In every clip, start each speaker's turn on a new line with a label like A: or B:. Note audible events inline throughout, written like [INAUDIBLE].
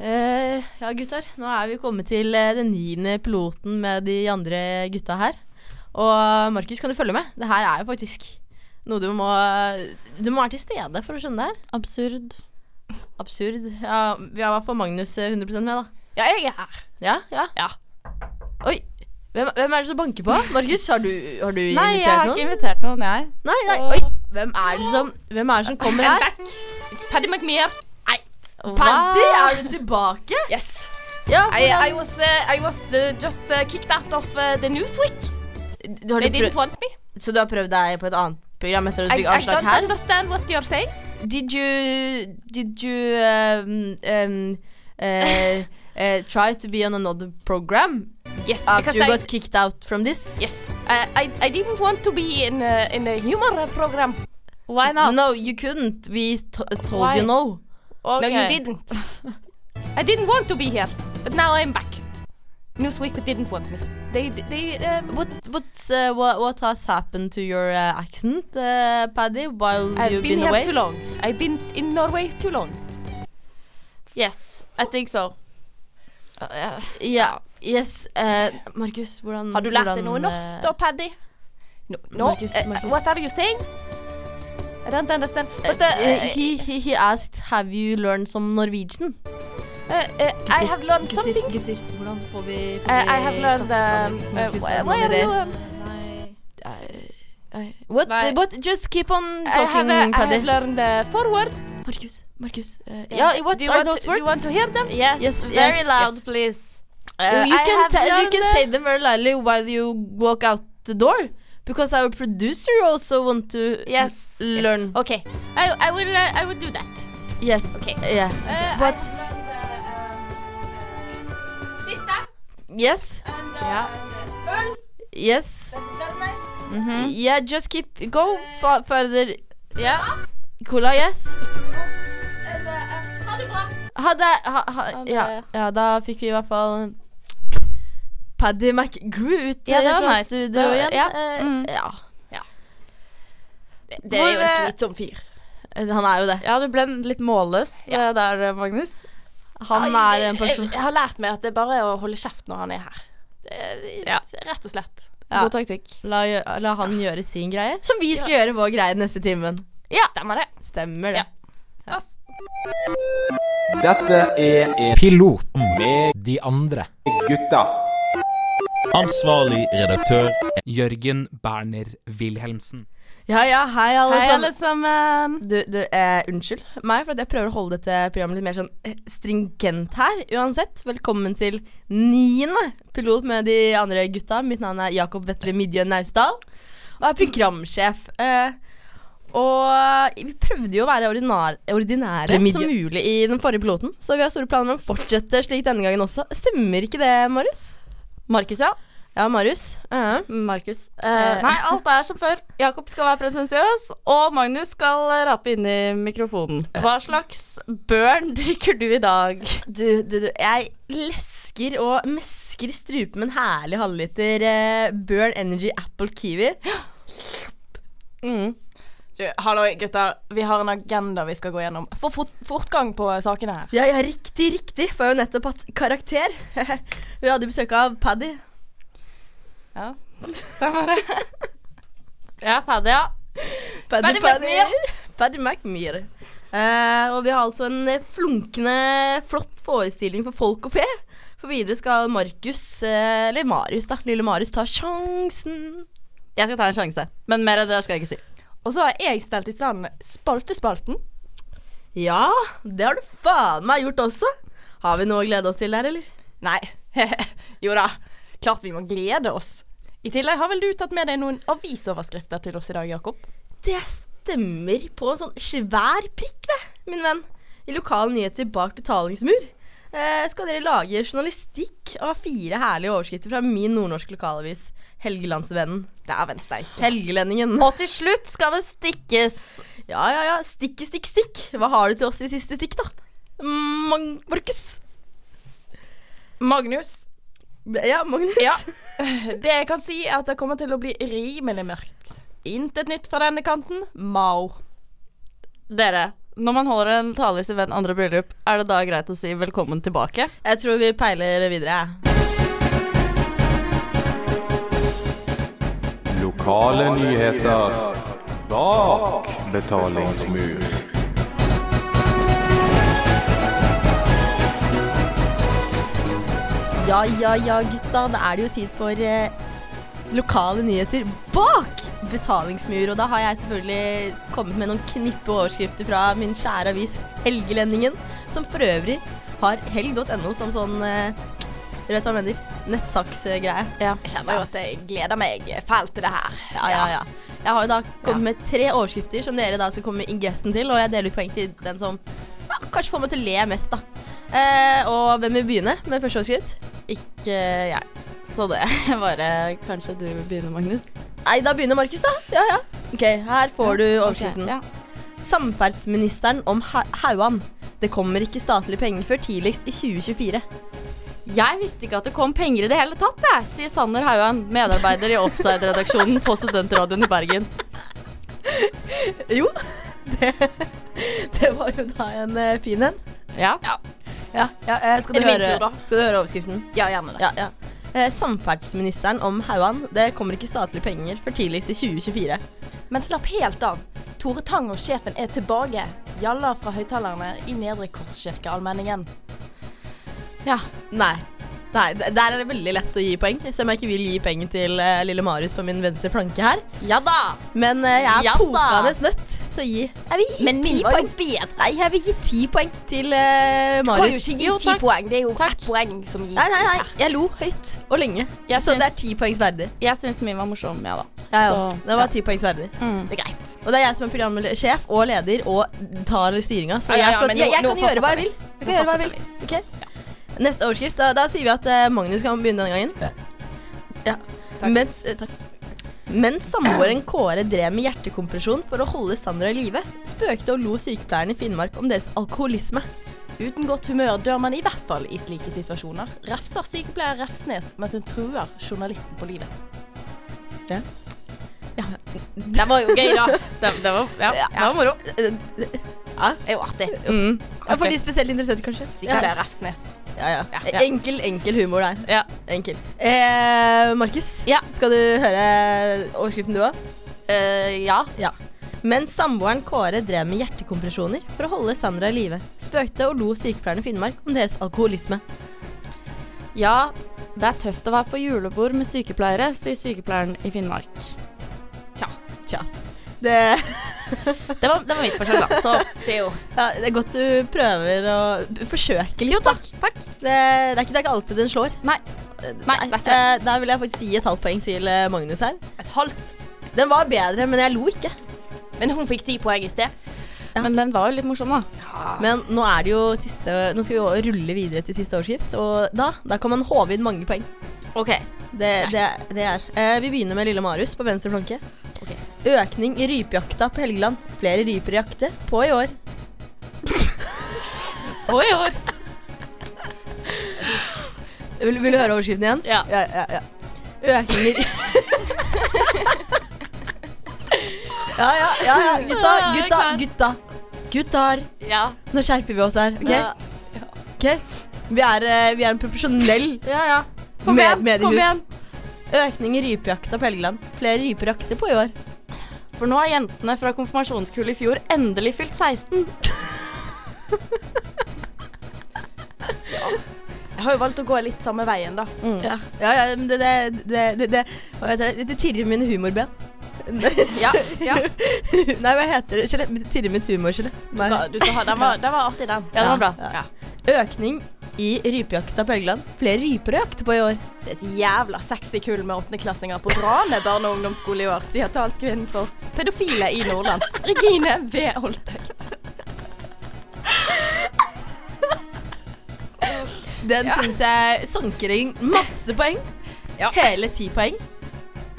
A: Eh, Ja, gutter. Nå er vi kommet til eh, den niende piloten med de andre gutta her. Og Markus, kan du følge med? Det her er jo faktisk noe du må Du må være til stede for å skjønne det her.
B: Absurd.
A: Absurd. Ja, vi har i hvert fall Magnus eh, 100 med, da.
B: Ja, jeg er her.
A: Ja? ja.
B: Ja.
A: Oi. Hvem, hvem er det som banker på? Markus, har du, har du
B: Nei, jeg
A: invitert
B: har
A: noen?
B: ikke invitert noen, jeg.
A: Nei, nei,
B: Åh.
A: oi. Hvem er det som, hvem er det som kommer her?
C: It's Paddy McMear.
A: Paddy, er du tilbake?
C: Yes.
A: Ja,
C: I, I
A: hvordan-
C: was, uh, I was uh, just uh, kicked out of uh, the Newsweek.
A: har
C: They
A: du
C: didn't
A: prøvd,
C: want me.
A: så du har prøvd deg på et annet program etter at du
C: I,
A: fikk
C: I
A: avslag
C: don't
A: her?
C: understand what you're saying.
A: Did you did you um, um, [LAUGHS] uh, uh, try to be on another program
C: Yes,
A: after
C: because
A: you
C: I,
A: got kicked out from this?
C: yes, uh, I, I didn't want to be in a, in a humor program.
B: Why not?
A: No, you couldn't. We to told
B: Why?
A: you no.
B: Okay.
C: No, you didn't. I didn't want to be here, but now I'm back. Newsweek didn't want me. They, they, uh,
A: What what's uh, what what has happened to your uh, accent, uh, Paddy? While
C: I've
A: you've
C: been,
A: been,
C: here
A: away?
C: too long. I've been in Norway too long.
B: Yes, I think so.
A: Ja. Uh, Yes. Uh, Markus, hvordan
C: Har du lært deg noe
A: hvordan,
C: norsk
A: eh,
C: da, Paddy? No, no.
A: Markus,
C: eh,
A: Markus.
C: what are you saying? I don't understand. But uh,
A: eh, he, he, he asked Have you learned some Norwegian?
C: uh, uh, I have learned some things.
A: gutter, hvordan får vi, får
C: Uh,
A: vi
C: I have learned
A: kastet
C: um,
A: litt
C: uh,
A: Markus
C: wh-
A: med
C: where
A: noen
C: are you?
A: ideer?
C: Um,
A: I- What,
B: Nei.
A: what? Just keep on
C: I have,
A: talking,
C: uh, I
A: Paddy.
C: have learned uh, four words.
A: Markus, Markus. eh,
B: Yeah.
A: ja, what
C: do you
A: are
C: want,
A: those
C: to-
A: words?
C: Do you want to hear them?
B: Yes,
A: Yes,
B: very
A: yes,
B: loud,
A: yes.
B: please.
A: Uh, you,
B: I
A: can
B: have
A: tell, you
B: learned,
A: can
B: uh,
A: say them very loudly while you walk out the door. Because our producer also want to
B: Yes.
A: l- learn.
C: Okay. I, I will uh, I will do that.
A: Yes.
C: Okay.
A: Yeah.
C: Uh,
A: What?
C: I have learned, uh, um, uh, sitta
A: Yes.
C: and uh,
B: Yeah.
C: burn.
A: Yes. Mm-hmm.
C: That is not nice. Uh,
B: Mhm.
A: Yeah, just keep go fa- further.
B: Ja.
A: Cola, yes.
C: And, uh, uh, ha det bra.
A: Ha det. Ha, ha,
B: Ha det.
A: ja, ja, da fikk vi i hvert fall Paddy McGrew ut
B: Ja, det
A: eh,
B: var
A: fra
B: nice. Det
A: studio
B: var-
A: igjen.
B: ja.
A: Eh,
B: Mm.
A: ja.
C: Det,
B: det er jo en
C: slitsom sånn fyr.
A: Eh, Han er jo det.
B: ja, du ble litt målløs eh, der, Magnus.
A: Han
C: Ai,
A: er en person
C: Jeg, jeg har lært meg at det er bare å holde kjeft når han er her. Det,
B: Ja.
C: Rett og slett.
A: Ja.
B: God taktikk.
A: La, gjø- la han gjøre sin greie, som vi skal gjøre vår greie neste timen.
B: Ja.
C: Stemmer det.
A: Stemmer det.
B: Ja.
C: Stas.
D: Dette er en
E: Pilot
D: med
E: de andre.
D: gutta.
F: Ansvarlig redaktør
E: Jørgen Berner Wilhelmsen.
A: Ja ja, hei alle
B: Hei, alle
A: sammen.
B: sammen.
A: Du, du eh, unnskyld meg for at jeg prøver å holde dette programmet litt mer sånn eh, stringent her. Uansett, velkommen til niende pilot med de andre gutta. Mitt navn er Jakob Vetle Midje Naustdal, og jeg er programsjef. Eh, og vi prøvde jo å være ordinar, ordinære
C: Midje.
A: som mulig i den forrige piloten, så vi har store planer om å fortsette slik denne gangen også. Stemmer ikke det, Marius?
B: Markus, ja.
A: Ja, Marius. eh.
B: Markus.
A: Eh.
B: Eh, nei, alt er som før. Jakob skal være pretensiøs, og Magnus skal eh, rape inn i mikrofonen. Hva slags børn drikker du i dag?
A: Du, du, du, jeg lesker og mesker strupen med en herlig halvliter eh, Burn Energy Apple Kiwi.
B: Mm.
C: Du, hallo, gutter. Vi har en agenda vi skal gå gjennom. Få fort, fortgang på sakene her.
A: Ja, ja, riktig, riktig. Får jo nettopp hatt karakter. [LAUGHS] Vi hadde besøk av Paddy.
B: Ja, stemmer det. ja, Paddy, ja.
A: Paddy,
B: Paddy McMear.
A: [LAUGHS] Paddy McMear. Eh, og vi har altså en eh, flunkende flott forestilling for folk og fe. For videre skal Markus, eh, eller Marius, da, lille Marius, ta sjansen.
B: Jeg skal ta en sjanse, men mer av det skal jeg ikke si.
C: Og så har jeg stelt i stand Spaltespalten.
A: Ja, det har du faen meg gjort også. Har vi noe å glede oss til der, eller?
C: Nei. [LAUGHS] jo da. Klart vi må glede oss. I tillegg har vel du tatt med deg noen avisoverskrifter til oss i dag, Jakob?
A: Det stemmer på en sånn svær prikk, det, min venn. I lokale nyheter bak betalingsmur eh, skal dere lage journalistikk av fire herlige overskrifter fra min nordnorske lokalavis, Helgelandsvennen.
C: Dæven steike.
A: Helgelendingen.
B: Og til slutt skal det stikkes.
A: Ja, ja, ja. Stikke, stikk, stikk. Hva har du til oss i siste stikk, da? Mang... Markus.
C: Magnus,
A: Ja, Magnus.
C: Ja. det jeg kan si, er at det kommer til å bli rimelig mørkt. Intet nytt fra denne kanten. Mao.
B: Dere, Når man holder en tale i sin venn andre bryllup, er det da greit å si velkommen tilbake?
A: Jeg tror vi peiler videre. jeg.
D: Lokale nyheter bak betalingsmur.
A: Ja, ja, ja, gutta. Da er det jo tid for eh, lokale nyheter bak betalingsmur. Og da har jeg selvfølgelig kommet med noen knippe overskrifter fra min kjære avis Helgelendingen, som for øvrig har helg.no som sånn eh, Dere vet hva jeg mener? Nettsaksgreie.
C: Jeg kjenner jo at jeg gleder meg fælt til det her.
A: Ja, ja, ja. Jeg har jo da kommet med tre overskrifter som dere da skal komme med ingressen til, og jeg deler ut poeng til den som ja, kanskje får meg til å le mest, da. Eh, og hvem vil begynne med første overskrift?
B: Ikke jeg. Så det bare Kanskje du begynner, Magnus?
A: Nei, da begynner Markus, da. Ja, ja. OK, her får du overskriften.
B: Ok, ja.
A: Samferdselsministeren om Ha- Hauan. Det kommer ikke statlige penger før tidligst i 2024.
B: Jeg visste ikke at det kom penger i det hele tatt, jeg, sier Sander Hauan, medarbeider i Offside-redaksjonen på Studentradioen i Bergen.
A: Jo, [LAUGHS] det, det var jo da en eh, fin en.
B: Ja.
A: Ja, ja, eh, skal, du
C: Er det min
A: høre,
C: tur da?
A: skal du høre overskriften?
C: Ja, gjerne det.
A: Ja, ja. Eh, Samferdselsministeren om Hauan. Det kommer ikke statlige penger før tidligst i 2024.
C: Men slapp helt av. Tore Tang og sjefen er tilbake. Jalla fra høyttalerne i Nedre Korskirkeallmenningen.
B: ja.
A: Nei. Nei, d- Der er det veldig lett å gi poeng, selv om jeg ikke vil gi penger til eh, lille Marius på min venstre flanke her.
B: Ja da!
A: Men eh, jeg er
B: Ja da.
A: pokane nødt til å gi Jeg vil gi
C: Men
A: ti
C: min var jo
A: poeng.
C: bedre.
A: Nei, jeg vil gi ti poeng til eh,
C: Du kan jo
A: Marius.
C: ikke
B: Jo,
C: gi ti
B: takk.
C: poeng. Det er jo
B: Takk.
C: ett poeng som gis.
A: Nei, nei, nei. Jeg lo høyt og lenge.
B: Jeg
A: Så
B: syns-
A: det er ti poengs verdig.
B: Jeg syns min var morsom, ja da.
A: Ja, ja.
B: Så-
A: Det var ti poengs verdig.
B: Mm.
C: Det er greit.
A: Og det er jeg som er programsjef og leder og tar styringa. Så
C: Ja, ja,
A: jeg,
C: ja,
A: får-
C: men
A: jeg,
C: nå-
A: jeg
C: nå
A: kan gjøre hva jeg vil.
C: fortsetter
A: Jeg
C: vi.
A: kan gjøre hva jeg
C: Nå
A: vil. Ok. Neste overskrift. Da, da sier vi at eh, Magnus kan begynne denne gangen. Ja.
C: Takk.
A: Mens, eh, takk. Mens samboeren Kåre drev med hjertekompresjon for å holde Sandra i live, spøkte og lo sykepleierne i Finnmark om deres alkoholisme.
C: Uten godt humør dør man i hvert fall i slike situasjoner. Refser sykepleier Refsnes mens hun truer journalisten på livet.
B: Det var jo gøy, da. Det, det var, ja, det var moro.
A: Eh,
C: Det er jo artig.
B: Mm.
A: Ja, for de spesielt interesserte, kanskje. Ja,
C: Sykepleier Refsnes.
A: ja, ja.
B: Ja.
A: Enkel, enkel humor der.
B: Ja.
A: Enkel. Eh, Markus,
B: Ja.
A: skal du høre overskriften du òg?
B: Eh, ja.
A: Ja. Mens samboeren Kåre drev med hjertekompresjoner for å holde Sandra i live, spøkte og lo sykepleierne i Finnmark om deres alkoholisme.
B: ja. Det er tøft å være på julebord med sykepleiere, sier sykepleieren i Finnmark.
A: Tja. Det,
B: Det var, det var mitt forslag, da. Så det er jo
A: ja, det er godt du prøver å forsøke litt.
B: Jo, takk. Takk.
A: Det, det, er ikke, det er ikke alltid den slår.
B: Nei. Nei, det er ikke det.
A: Eh, Der vil jeg faktisk gi et halvt poeng til eh, Magnus her.
C: Et halvt.
A: Den var bedre, men jeg lo ikke.
C: Men hun fikk ti poeng i sted.
B: Men den var jo litt morsom, da.
A: Men nå er det jo siste Nå skal vi jo rulle videre til siste overskrift, og da, da kan man håve inn mange poeng.
B: OK.
A: Det, det, det er. Eh, vi begynner med lille Marius på venstre flanke.
B: Ok.
A: Økning i rypejakta på Helgeland. Flere ryper i jakte på i år.
C: Og i år.
A: Vil, vil du høre overskriften igjen?
B: Ja.
A: ja, ja, ja. Økning i [LAUGHS] Ja, ja, ja, ja. Gutta,
B: Ja, Ah, jeg er
A: gutta,
B: klar.
A: gutta. Gutter,
B: Ja.
A: nå skjerper vi oss her. OK?
B: Ja.
A: Ok? Vi, er, eh, vi er en profesjonell
B: Ja, ja. Kom
A: med,
B: igjen, kom
A: mediehus.
B: igjen.
A: Økning i rypejakta på Helgeland. Flere ryper i jakte på i år.
B: For nå har jentene fra konfirmasjonskullet i fjor endelig fylt 16.
C: Jeg har jo valgt å gå litt samme veien, da.
A: Ja, ja, ja men det, det, det, det, det, hva heter det, det tirrer mine humorben. [LAUGHS]
C: Ja, ja.
A: Nei, hva heter det? Skjelett? Det Tirrer mitt humorskjelett. Nei.
C: Skal, du skal ha, den, var, den var artig, den.
B: Ja, det var bra.
A: Ja. Økning i rypejakta på Helgeland. Flere ryper å jakte på i år.
C: Det er et jævla sexy kull med åttendeklassinger på Drane barne- og ungdomsskole i år, sier talskvinnen for pedofile i Nordland, Regine V. Holtøkt.
A: Den synes jeg sanker inn masse poeng.
C: Ja.
A: Hele ti poeng.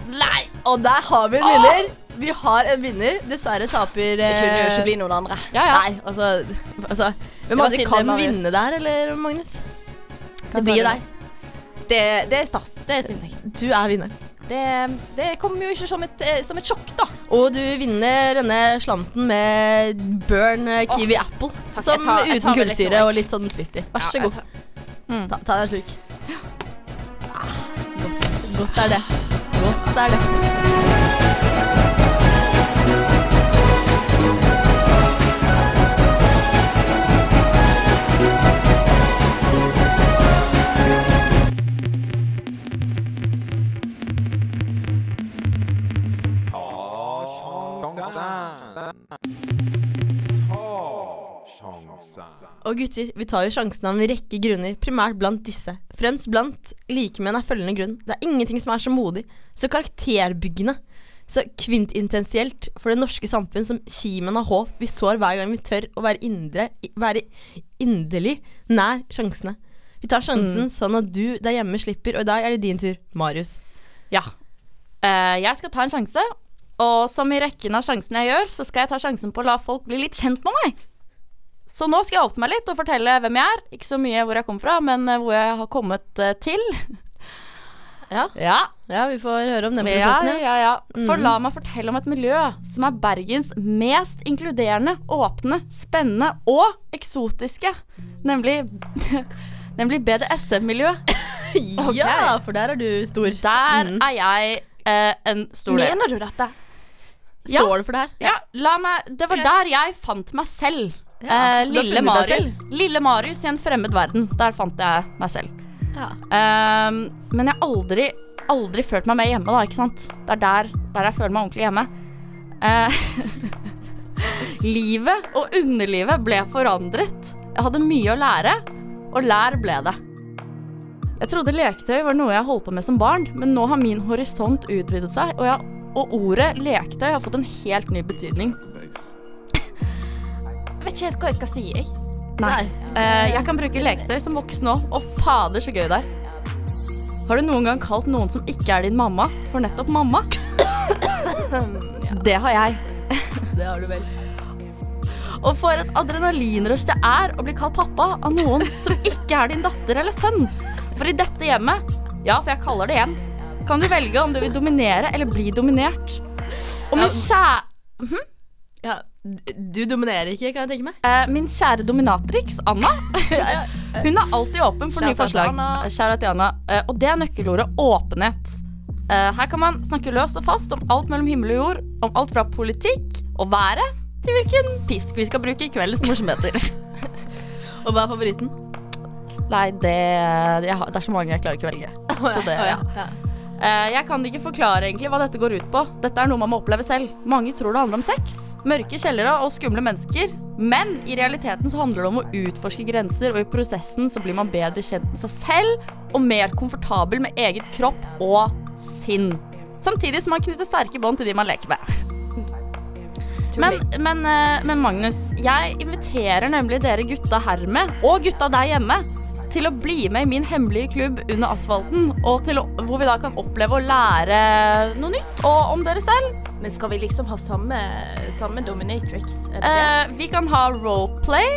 B: Nei!
A: Og der har vi en vinner. Vi har en vinner. Dessverre taper
C: Det kunne jo
A: eh,
C: ikke bli noen andre.
B: Ja, ja.
A: Nei, altså, altså Hvem
C: var
A: andre
C: synd,
A: kan
C: Marius.
A: vinne der, eller, Magnus? Det
C: Hva
A: blir
C: sa
A: jo
C: du
A: deg.
C: Det, det er stas. Det syns jeg.
A: Du er vinneren.
C: Det, det kom jo ikke som et, eh, som et sjokk, da.
A: Og du vinner denne slanten med Burn eh, Kiwi Apple.
C: takk,
A: som
C: jeg
A: uten
C: tar- jeg tar vel litt nå,
A: kullsyre
C: jeg.
A: og litt sånn spytt i. Vær så
C: Ja, jeg
A: god. Ta, ta deg en slurk. Ah, Godt, godt er det. Godt er det. Og gutter, vi tar jo sjansen av en rekke grunner, primært blant disse. Fremst blant likemenn er følgende grunn. Det er ingenting som er så modig, så karakterbyggende, så kvintintensielt for det norske samfunn som kimen av håp vi sår hver gang vi tør å være indre, i- være inderlig nær sjansene. Vi tar sjansen sånn at du der hjemme slipper, og i dag er det din tur, Marius.
B: Ja. Eh, jeg skal ta en sjanse, og som i rekken av sjansene jeg gjør, så skal jeg ta sjansen på å la folk bli litt kjent med meg. Så nå skal jeg åpne meg litt og fortelle hvem jeg er. Ikke så mye hvor jeg kommer fra, men eh, hvor jeg har kommet eh, til.
A: Ja.
B: Ja,
A: Ja, vi får høre om den
B: ja,
A: prosessen. Mm.
B: ja, ja. For la meg fortelle om et miljø som er Bergens mest inkluderende, åpne, spennende og eksotiske. Nemlig, [LAUGHS] nemlig BDSM-miljø.
A: Ja, ja for der er du stor.
B: Der
A: Mm.
B: er jeg eh, en stor del.
C: Mener du dette?
B: Ja.
A: Står det for det her?
B: Ja, la meg Det var der jeg fant meg selv.
A: Ja,
B: eh,
A: så du har
B: lille,
A: funnet deg
B: Marius, lille Marius i en fremmed verden. Der fant jeg meg selv.
A: Ja.
B: Ehm, men jeg har aldri, aldri følt meg mer hjemme, da. Ikke sant? Det er der, der jeg føler meg ordentlig hjemme. Eh, [LAUGHS] livet og underlivet ble forandret. Jeg hadde mye å lære, og lær ble det. Jeg trodde leketøy var noe jeg holdt på med som barn, men nå har min horisont utvidet seg, og, jeg, og ordet leketøy har fått en helt ny betydning.
C: Jeg vet ikke helt hva jeg skal si, jeg.
A: Nei.
B: Eh, jeg kan bruke leketøy som voksen òg, og fader så gøy det er. Har du noen gang kalt noen som ikke er din mamma, for nettopp [COUGHS] mamma? Det har jeg.
A: Det har du vel.
B: Og for et adrenalinrush det er å bli kalt pappa av noen som ikke er din datter eller sønn. For i dette hjemmet, ja, for jeg kaller det hjem, kan du velge om du vil dominere eller bli dominert. Og min kjære
A: Ja, du du dominerer ikke, kan jeg tenke meg.
B: Eh, Min kjære dominatrix, Anna. [LAUGHS] Hun er alltid åpen for nye
C: Shout out til
B: forslag.
C: Anna.
B: Kjære til Anna. Eh, Og det er nøkkelordet åpenhet. Eh, Her kan man snakke løst og fast om alt mellom himmel og jord. Om alt fra politikk og været til hvilken pisk vi skal bruke i kveldens morsomheter.
A: Og hva er favoritten?
B: Nei, det, jeg har, det er så mange jeg klarer ikke å velge. Så det, ja. Eh, Jeg kan ikke forklare egentlig hva dette går ut på. Dette er noe man må oppleve selv. Mange tror det handler om sex, mørke kjellere og skumle mennesker. Men i realiteten så handler det om å utforske grenser, og i prosessen så blir man bedre kjent med seg selv og mer komfortabel med eget kropp og sinn. Samtidig som man knytter sterke bånd til de man leker med. Men, men, eh, men Magnus, jeg inviterer nemlig dere gutta hermed, og gutta der hjemme, til å bli med i min hemmelige klubb under asfalten, og til å, hvor vi da kan oppleve å lære noe nytt, og om dere selv.
C: Men skal vi liksom ha samme, samme dominatrix? Er det det?
B: Eh, vi kan ha roleplay,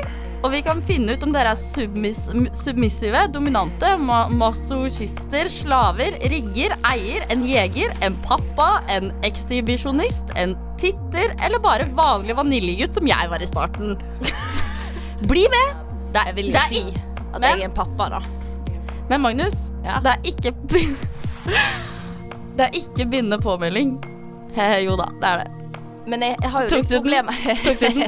B: og vi kan finne ut om dere er submiss submissive, dominante, ma masochister, slaver, rigger, eier, en jeger, en pappa, en ekshibisjonist, en titter, eller bare vanlig vaniljegutt som jeg var i
C: [LAUGHS]
B: starten. Bli med! Det er,
C: Jeg vil
B: det
C: jo
B: er
C: si
B: ikke-
C: at
B: men-
C: jeg er en pappa, da.
B: Men Magnus,
C: Ja.
B: det er ikke [LAUGHS] Det er ikke bindende påmelding. He, jo da, det er det.
C: Men jeg, jeg har jo
B: Tok
C: litt
B: du den?
C: problemer.
B: Tok du
C: [LAUGHS]
B: den?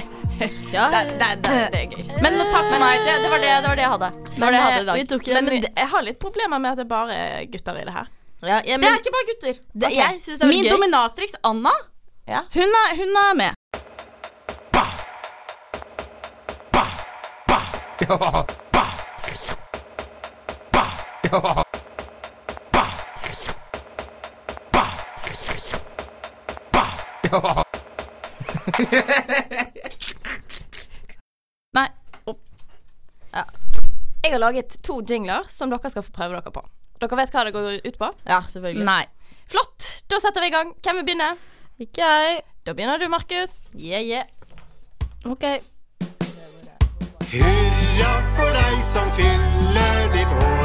A: Ja,
C: Det, det, det, det er gøy.
B: Men takk for meg. Det, det, var det, det var det jeg hadde. Det var det jeg hadde i
A: Vi
B: dag.
A: tok det,
C: Men, eh,
A: men, det,
C: jeg har litt problemer med at det bare er gutter i det her.
A: ja, ja, men,
B: Det er ikke bare gutter.
A: det-
C: ok.
A: Jeg syns det er
B: Min
A: veldig gøy.
B: dominatrix Anna,
C: Ja.
B: hun er, hun er med. Nei. opp.
C: Jeg har laget to jingler som dere skal få prøve dere på. Dere vet hva det går ut på?
A: Ja, selvfølgelig.
B: Nei.
C: Flott! Da setter vi i gang. Hvem vil begynne?
B: Ikke jeg.
C: Da begynner du, Markus.
A: Yeah, yeah.
B: OK.
F: Hurra for deg som fyller ditt år,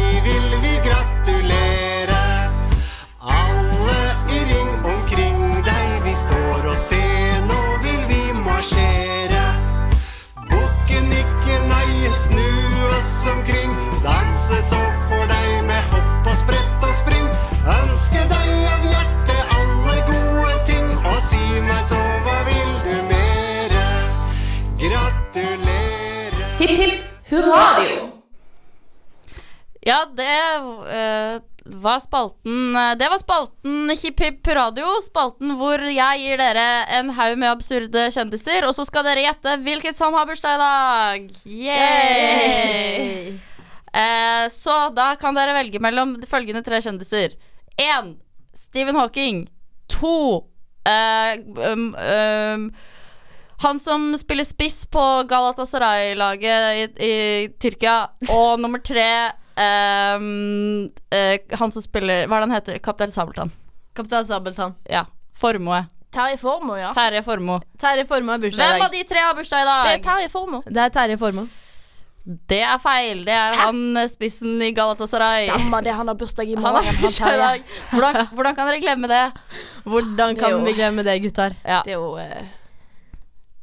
F: vil vi gratulere. All
G: Hurradio.
B: Ja, det eh, var spalten eh, Det var spalten Hipp Hipp Radio. Spalten hvor jeg gir dere en haug med absurde kjendiser, og så skal dere gjette hvilket som har bursdag i dag. Yay! Eh, så da kan dere velge mellom de følgende tre kjendiser. Én Stephen Hawking. To eh, um, um, han som spiller spiss på Galatasaray-laget i, i Tyrkia.
C: [LAUGHS]
B: Og nummer tre ehm, eh, Han som spiller Hva er det han heter? Kaptein Sabeltann.
A: Kaptein Sabeltann.
B: Ja. Formoe.
C: Terje Formoe, ja.
B: Terje Formoe.
A: Terje Formoe har bursdag i
B: Hvem av
A: dag.
B: de tre har bursdag i
C: Det er
B: dag?
C: Terje Formoe.
A: Det er Terje Formoe.
B: Det er feil. Det er han eh, spissen i Galatasaray.
C: Stemmer det, han har bursdag i
B: Han
C: morgen.
B: har bursdag i
C: Terje.
B: dag. [LAUGHS] Hvordan, hvordan kan dere glemme det?
A: Hvordan
C: Det er
A: kan
C: jo-
A: vi glemme det, gutter?
B: Ja.
C: Det er jo eh,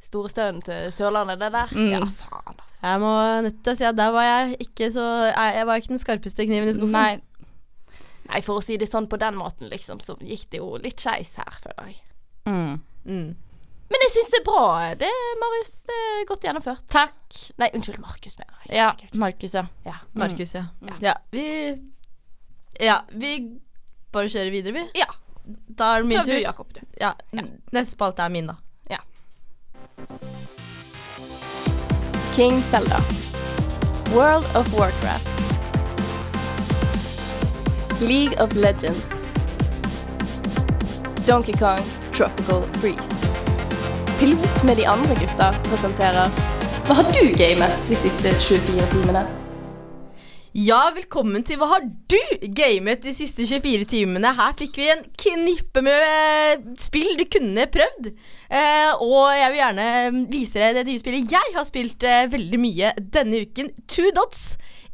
C: store stønnen til Sørlandet, det der.
B: Mm.
C: Ja, faen, altså.
A: Jeg må nødt til å si at der var jeg ikke så Jeg jeg var ikke den skarpeste kniven i skuffen.
B: Nei.
C: Nei, for å si det sånn på den måten, liksom, så gikk det jo litt skeis her, føler jeg.
B: Mm.
A: Mm.
C: Men jeg syns det er bra. Det er Marius det er godt gjennomført.
B: Takk.
C: Nei, unnskyld, Markus, mener jeg.
B: Ja, Markus, ja.
C: Ja.
A: Markus, ja. ja. Vi Ja, vi bare kjører videre, vi.
C: Ja.
A: Da er det min
C: Prøv du,
A: tur.
C: Jakob, du.
A: Ja, n- Neste spalte er min, da.
C: King Zelda. World of Warcraft. League of Legends. Donkey Kong Tropical Freeze. Pilot med de andre gutta presenterer Hva har du gamet de siste 24 timene?
A: Ja, velkommen til Hva har du gamet de siste 24 timene? Her fikk vi en knippe med eh, spill du kunne prøvd. Eh, og jeg vil gjerne mm, vise deg det nye spillet jeg har spilt eh, veldig mye denne uken. Two Dots.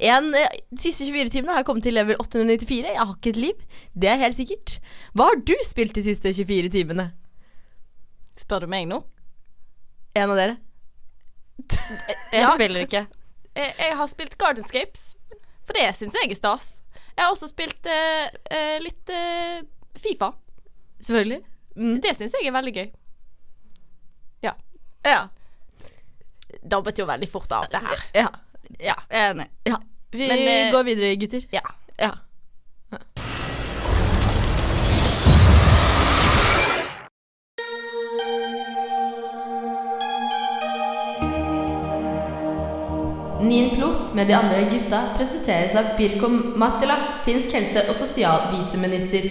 A: En, eh, de siste 24 timene har jeg kommet til level 894. Jeg har ikke et liv, det er helt sikkert. Hva har du spilt de siste 24 timene?
C: Spør du meg nå?
A: En av dere?
B: Jeg
C: Ja.
B: spiller ikke.
C: Jeg, jeg har spilt Gardenscapes, for det syns jeg er stas. Jeg har også spilt eh, eh, litt eh, Fifa.
A: Selvfølgelig. Mm.
C: Det syns jeg er veldig gøy.
A: Ja.
C: Dabbet jo veldig fort av det her.
A: ja.
B: Ja, jeg er enig.
A: ja. Vi
C: Men, eh,
A: går videre, gutter.
C: Ja.
A: Ja. Nien Plot med de andre gutta presenteres av Birko Mattila, finsk helse- og sosialviseminister.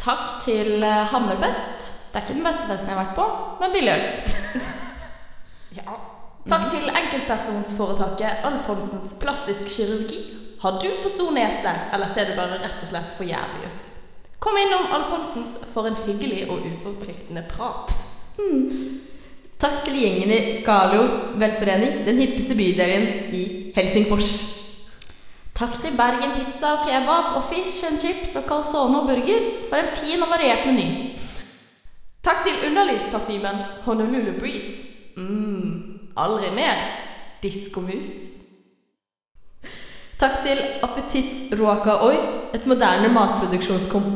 B: Takk til eh, Hammerfest. Det er ikke den beste festen jeg har vært på, men billig øl.
G: Takk til enkeltpersonsforetaket Alfonsens plastisk kirurgi. Har du for stor nese, eller ser du bare rett og slett for jævlig ut? Kom innom Alfonsens for en hyggelig og uforpliktende prat.
A: Takk til gjengen i Galio velforening, den hippeste bydelen i Helsingfors.
B: Takk til Bergen pizza og kebab og fish and chips og calzone og burger for en fin og variert meny.
G: Takk til underlivsparfymen Honolulu Breeze. Mm, aldri mer diskomus.
A: Takk til Appetitt Ruaka Oi, et moderne matproduksjonskom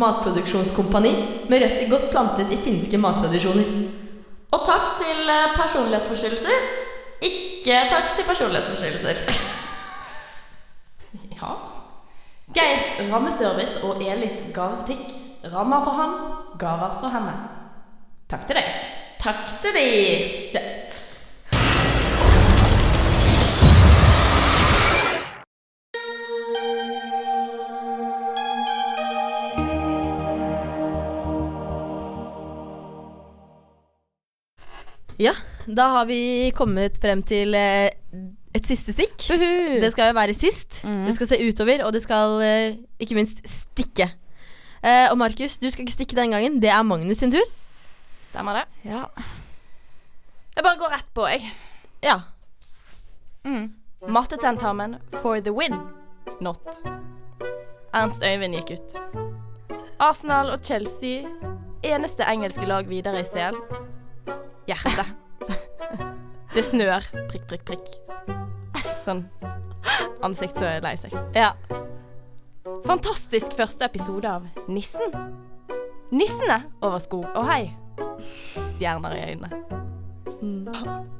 A: matproduksjonskompani med røtter godt plantet i finske mattradisjoner.
B: Og takk til eh, personlighetsforstyrrelser. Ikke takk til personlighetsforstyrrelser. [LAUGHS]
G: Ja. Geirs rammeservice og Elis gavebutikk. Rammer for han, gaver for henne. Takk til deg.
B: Takk til de.
A: Ja, da har vi kommet frem til eh, et siste stikk. Det skal jo være sist. Det skal se utover, og det skal eh, ikke minst stikke. Eh, og Markus, du skal ikke stikke den gangen. Det er Magnus sin tur.
C: Stemmer det? Ja. Jeg bare går rett på, jeg.
A: Ja.
C: Mattetentamen for the win. Not. Ernst Øyvind gikk ut. Arsenal og Chelsea, eneste engelske lag videre i CL. Hjerte. Det snør. Prikk, prikk, prikk. Sånn ansikt så er lei seg.
B: Ja.
C: Fantastisk første episode av Nissen. Nissene over skog og hei. Stjerner i øynene.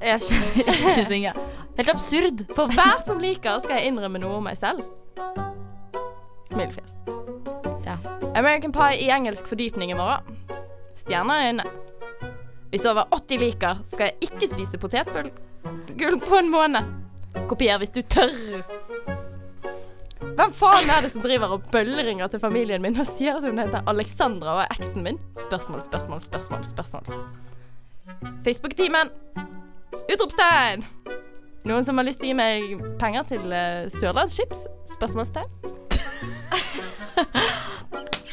B: Jeg skjønner ingenting, jeg. Helt absurd.
C: For hver som liker, skal jeg innrømme noe om meg selv. Smilefjes.
B: Ja.
C: American Pie i engelsk fordypning i morgen. Stjerner i øynene. Hvis over 80 liker, skal jeg ikke spise potetgull gull på en måned. Kopier hvis du tør. Hvem faen er det som driver og bølleringer til familien min og sier at hun heter Alexandra og er eksen min? Spørsmål, spørsmål, spørsmål, spørsmål. Facebook-timen. Utropstegn! Noen som har lyst til å gi meg penger til eh, Sørlandschips? Spørsmålstegn. [LAUGHS]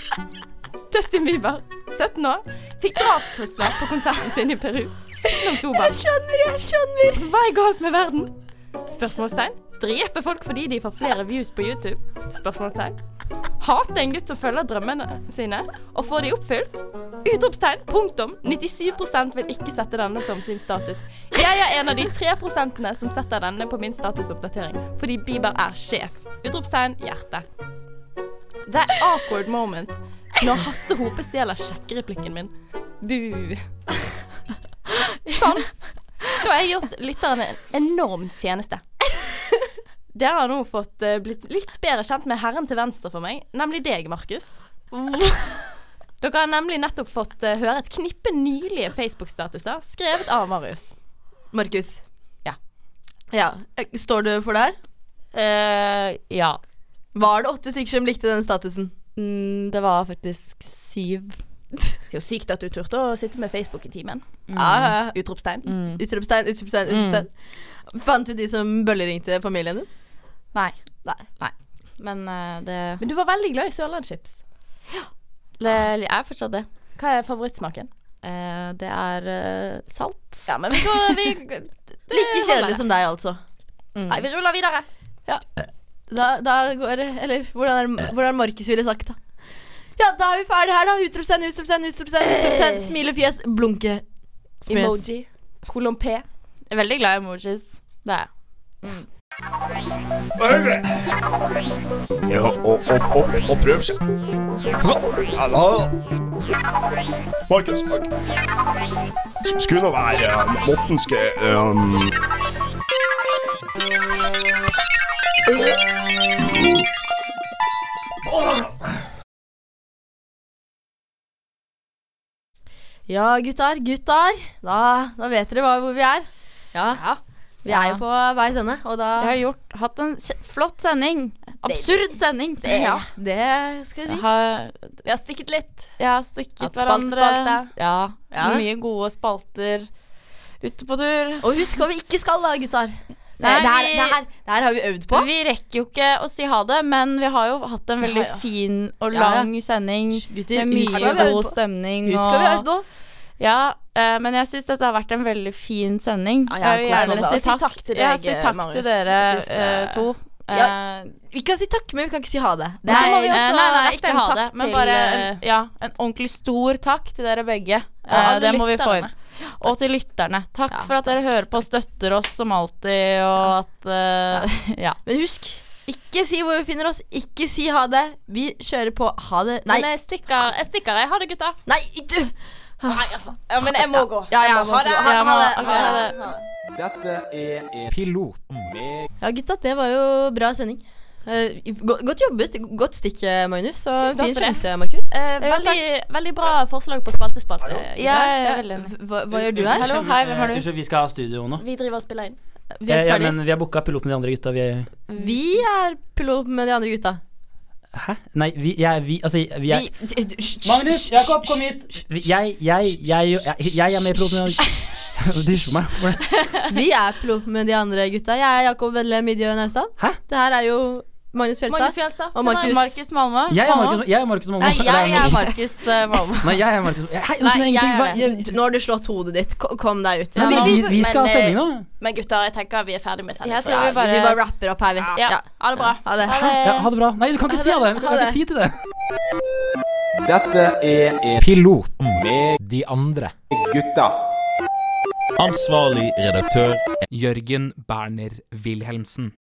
C: Justin Bieber, 17 år, fikk drapstrusler på konserten sin i Peru 17. oktober.
A: skjønner, jeg skjønner!
C: Hva er galt med verden? Spørsmålstegn. Dreper folk fordi de får flere views på YouTube? Spørsmålstegn. Hater en gutt som følger drømmene sine, og får de oppfylt? Utropstegn. Punktum. 97 vil ikke sette denne som sin status. Jeg er en av de 3 prosentene som setter denne på min statusoppdatering, fordi Bieber er sjef. Utropstegn. Hjerte. Det er awkward moment når Hasse Hope stjeler sjekkereplikken min. Bu. Sånn. Da har jeg gjort lytterne en enorm tjeneste. Dere har nå fått eh, blitt litt bedre kjent med herren til venstre for meg, nemlig deg, Markus. [LAUGHS] Dere har nemlig nettopp fått eh, høre et knippe nylige Facebook-statuser skrevet av Marius.
A: Markus.
C: Ja.
A: Ja, eh, Står du for det her?
B: Eh, ja.
A: Var det åtte stykker som likte den statusen?
B: Mm, det var faktisk syv.
C: Det er jo sykt at du turte å sitte med Facebook i timen.
A: Ja, ja, ja.
C: Utropstegn.
A: Ah, Utropstegn, utropstegn, utropstegn. Fant du de som bølleringte familien din?
B: Nei.
A: Nei.
B: Men eh, det,
C: Men du var veldig glad i sørlandschips.
B: det er fortsatt det.
C: Hva er favorittsmaken?
B: Eh, det er eh, salt.
C: Ja, men vi
A: [LAUGHS]
C: går vi,
A: Like kjedelig som deg, altså.
C: Nei, vi ruller videre.
A: Da, da går Eller hvordan er, hvordan er Markus ville sagt, da? Ja, da er vi ferdig her, da. Utropstegn, utropstegn, utropstegn. utropstegn Smilefjes, blunke. Smes.
C: Emoji. Kolon P.
B: Jeg er veldig glad i emojis. Det er jeg.
F: Ja, og, og, og, og prøv seg. Hallo. Markus. Skulle nå være um, mortenske um,
A: Ja, gutter, gutter. Da, da vet dere hva, hvor vi er. Ja. Vi er
B: Ja.
A: jo på veis ende, og da
B: Jeg har gjort, hatt en kje- flott sending. Absurd sending.
A: ja, det skal vi
B: Jeg
A: si.
B: har,
C: Vi har stikket litt.
B: jeg har stikket
C: Hatt spalte,
B: hverandre.
C: spalte.
B: Ja.
A: Ja.
B: Mye gode spalter. Ute på tur.
A: Og husk hva vi ikke skal, da, gutter. Det,
B: Nei,
A: det, her,
B: vi-
A: det, her, det her har vi øvd på.
B: Vi rekker jo ikke å si ha det, men vi har jo hatt en veldig
A: Ja, ja.
B: fin og
A: Ja, ja.
B: lang sending.
A: Gutter,
B: med
A: husk hva vi
B: mye
A: har
B: god
A: øvd på.
B: stemning.
A: Husk hva vi har øvd på.
B: Ja, eh, men jeg syns dette har vært en veldig fin sending.
A: Ja, jeg
B: vil
A: koser meg
B: gjerne
A: bra.
B: si
C: Si
B: takk,
C: takk til
B: ja,
C: deg,
A: eh,
B: si takk
C: Marius.
B: til dere
C: Jeg synes det-
B: eh, to.
A: Ja.
B: Eh,
A: Vi kan si takk, men vi kan ikke si ha det.
B: Nei,
C: så må vi også
B: eh, nei, nei,
C: rette
B: ikke
C: en
B: ha
C: takk
B: det. Men
C: til,
B: bare
C: eh,
B: en, ja, en ordentlig stor takk til dere begge.
C: Ja,
B: Eh,
C: alle
B: det må vi få
C: lytterne.
B: inn. Og til lytterne. Takk for at dere hører på og støtter oss som alltid, og at eh, [LAUGHS] Ja.
A: Men husk, ikke si hvor vi finner oss. Ikke si ha det. Vi kjører på ha det. Nei,
C: Men jeg stikker, jeg. stikker, jeg. Ha det, gutta.
A: nei, du!
B: Ah,
C: Ja, men jeg må gå.
A: Ja, ja, ha det. Ha,
B: Jeg
A: ha
B: må-
A: det. Ha det.
D: Dette er en
E: Pilot.
A: Ja, gutta, det var jo bra sending. Eh, go- godt jobbet. Godt stikk, eh, Magnus.
C: Tusen
A: Og
C: takk
A: fin
C: for det.
A: sjanse, Markus.
C: Eh, veldig, veldig bra forslag på spaltespalte.
B: Jeg er veldig enig.
A: Hva, hva gjør du her?
B: Hallo, hei, hvem er du?
H: Eh, Unnskyld, vi skal ha studio nå.
C: Vi driver og spiller inn.
A: Vi
H: Eh, Ja,
A: er
H: ja,
A: ferdig.
H: men vi har booka piloten og de andre gutta. Vi er
A: Vi er pilot med de andre gutta.
H: Hæ? Nei, vi, jeg, vi Altså, vi er
A: Vi d- d- hysj, hysj,
H: kom hit! Jeg, jeg, jeg, jeg, jeg er med i piloten. og de [LAUGHS] andre- Du slo meg. Hvorfor det?
A: hysj. Vi er pilot med de andre gutta. Jeg er Jakob Vedle Midjø Naustdal.
H: Hæ?
A: Det her er jo Magnus
C: Magnus
A: Fjelstad.
C: Fjelstad.
A: Og Markus.
B: Markus Malmö.
H: Jeg er
B: Malmö?
H: Markus jeg er Markus Molmo.
B: Nei, jeg
H: Eller
B: er
H: noe-
B: Markus eh, Malmö.
H: Nei, jeg er Markus Hei, nå
B: Nei,
H: skjønner
B: jeg
H: jeg ingenting. Hva?
B: er
H: Jeg,
A: Nå har du slått hodet ditt. Ko- Kom deg ut.
H: ja,
A: Vi-
H: men
A: vi-
H: vi, vi skal ha
C: men, eh,
H: sending nå.
C: Men gutter, jeg tenker vi er ferdig med sendingen.
B: Jeg tror vi
A: Vi bare
B: bare
A: rapper opp her, vi.
C: Ja.
A: Ja.
C: Ha det bra.
A: Ha det.
H: Ja, ha det bra. Nei, du kan ikke si det. Du
A: Ha
H: kan
A: det.
H: ikke tid til det.
D: Dette er en
E: Pilot.
D: med
E: De andre.
D: gutta.
F: Ansvarlig redaktør
E: Jørgen Berner Wilhelmsen.